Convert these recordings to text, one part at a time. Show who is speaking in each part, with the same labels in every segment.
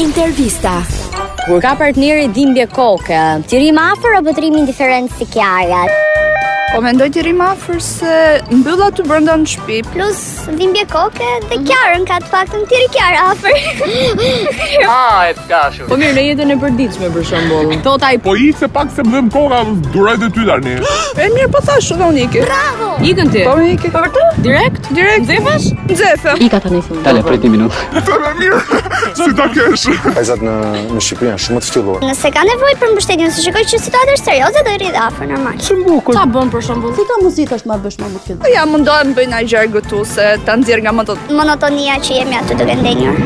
Speaker 1: Intervista.
Speaker 2: Kur ka partneri dhimbje koke, ti rrim afër apo të rrim indiferent si Kiara?
Speaker 3: Po mendoj të rrim afër se mbylla ty brenda në shtëpi.
Speaker 4: Plus dhimbje koke dhe
Speaker 2: Mhm.
Speaker 4: Kiarën ka të paktën ti Kiara afër.
Speaker 5: Ah, e të kashur.
Speaker 2: Po mirë, në jetën e përditshme për shembull. Tota Thot ai
Speaker 6: Po i se pak se më dhëm koka, duraj dhe ty tani.
Speaker 3: E mirë po thash unë unë iki.
Speaker 2: ikën ti.
Speaker 3: Po unë iki. Po vërtet?
Speaker 2: Direkt?
Speaker 3: Direkt zefash? Zefa.
Speaker 2: I ka tani si.
Speaker 5: Dale, prit një minutë.
Speaker 6: Të me mirë, si ta kesh.
Speaker 7: Vajzat në në Shqipëri janë shumë të ftylluara.
Speaker 4: Nëse ka nevojë për mbështetjen, se shikoj që situata është serioze, do i rrit afër normal.
Speaker 2: Sa bën për shembull?
Speaker 8: Si ka muzikë është më bësh më më fillim?
Speaker 3: Po ja mundohem bëj një gjë gëtuese, ta nxjerr nga më të
Speaker 4: Monotonia që jemi aty duke ndenjur.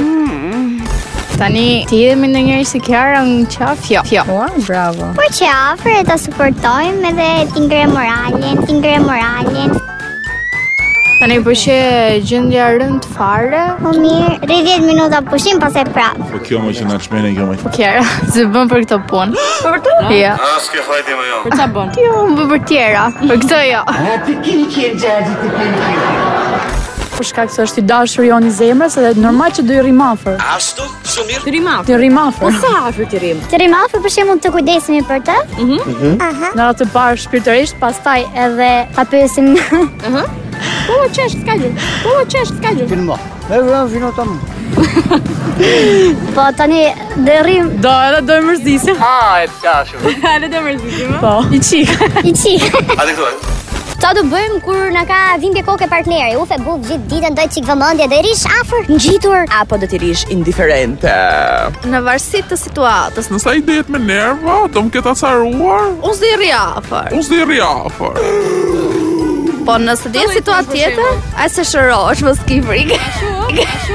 Speaker 9: Tani ti jemi në njëri si Kiara në qaf, jo. Jo.
Speaker 4: Po që afër e ta suportojmë edhe ti ngre moralin, ti ngre moralin.
Speaker 9: Tani po që gjendja rënd fare.
Speaker 4: Po mirë, rri 10 minuta pushim pas e prap.
Speaker 6: Po kjo më që në shmene, kjo më.
Speaker 9: Po Kiara, se bën për këtë punë. Po vërtet? Jo.
Speaker 2: Për ça bën?
Speaker 9: Jo, më bë për tjera. Për këtë jo.
Speaker 8: Për shkak se është i dashur joni zemrës edhe normal që do i rrim afër.
Speaker 2: Ti rrim afër.
Speaker 8: Të rrim
Speaker 2: Po
Speaker 8: afër.
Speaker 2: sa afër ti rrim?
Speaker 4: Të rrim afër për shembull të kujdesemi për të.
Speaker 8: Në radhë të parë shpirtërisht, pastaj edhe
Speaker 4: Ta pyesim
Speaker 2: Po çesh s'ka gjë. Po çesh s'ka gjë.
Speaker 4: Po tani do i rrim
Speaker 8: do edhe do e mërzisim.
Speaker 5: Ah, e të kashur.
Speaker 2: Ale të mërzitje.
Speaker 8: Po. I çik.
Speaker 4: i çik. Qa do bëjmë kur na ka dhimbje koke partneri? Ufe buf gjithë ditën do i çik vëmendje, do i rish afër, ngjitur.
Speaker 1: Apo do t'i rish indiferente.
Speaker 9: Në varësi të situatës.
Speaker 6: Nësa i dejet me nerva, do më këta caruar,
Speaker 9: Unë s'do i rri afër.
Speaker 6: unë s'di rria afer.
Speaker 9: Po nëse di situatë tjetër, ai se shërohesh, mos ki frikë.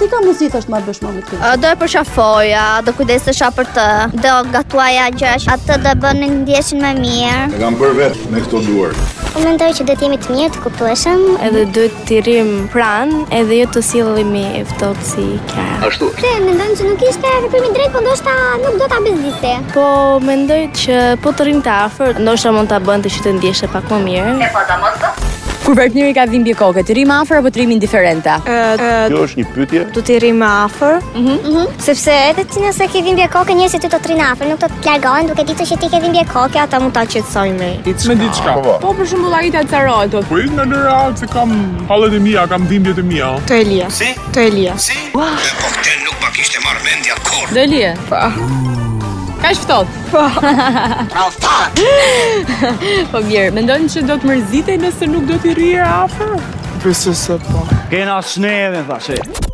Speaker 8: Si ka muzikë është më bësh më më fillim?
Speaker 4: Do e përshafoja, do kujdesesha për të, do gatuaja gjësh, atë do bënë ndjeshin më mirë.
Speaker 6: E kam për vetë me këto duar.
Speaker 4: Mendoj që do të jemi të mirë, të kuptueshëm.
Speaker 9: Edhe duhet të rrim pranë, edhe jo të sillemi e ftohtë si Kiara.
Speaker 5: Ashtu.
Speaker 4: Pse mendojmë që nuk ishte veprim i drejtë, por ndoshta nuk do ta bezdiste.
Speaker 9: Po mendoj që po të rrim të afër, ndoshta mund ta bënte që të ndjeshe pak më mirë.
Speaker 2: Kur partneri ka dhimbje koke, ti rrim afër apo të rrim indiferente?
Speaker 6: Kjo është një pytje.
Speaker 9: Do të rrim afër,
Speaker 4: Mhm. Sepse edhe ti nëse ke dhimbje koke, njerëzit ty të trinë afër, nuk do të largohen duke ditur që ti ke dhimbje koke, ata mund ta qetësojnë.
Speaker 6: Me ditë shka. Po,
Speaker 2: Po për shembull ai ta carohet. thotë,
Speaker 6: po i nga nëra, se kam halët e mija, kam dhimbjet e mija.
Speaker 2: Do e lije. Po. Ka ftohtë. Po. Po mirë, mendon që do të mërzitej nëse nuk do t'i rrihe afër?
Speaker 5: Kena sneve, thashe.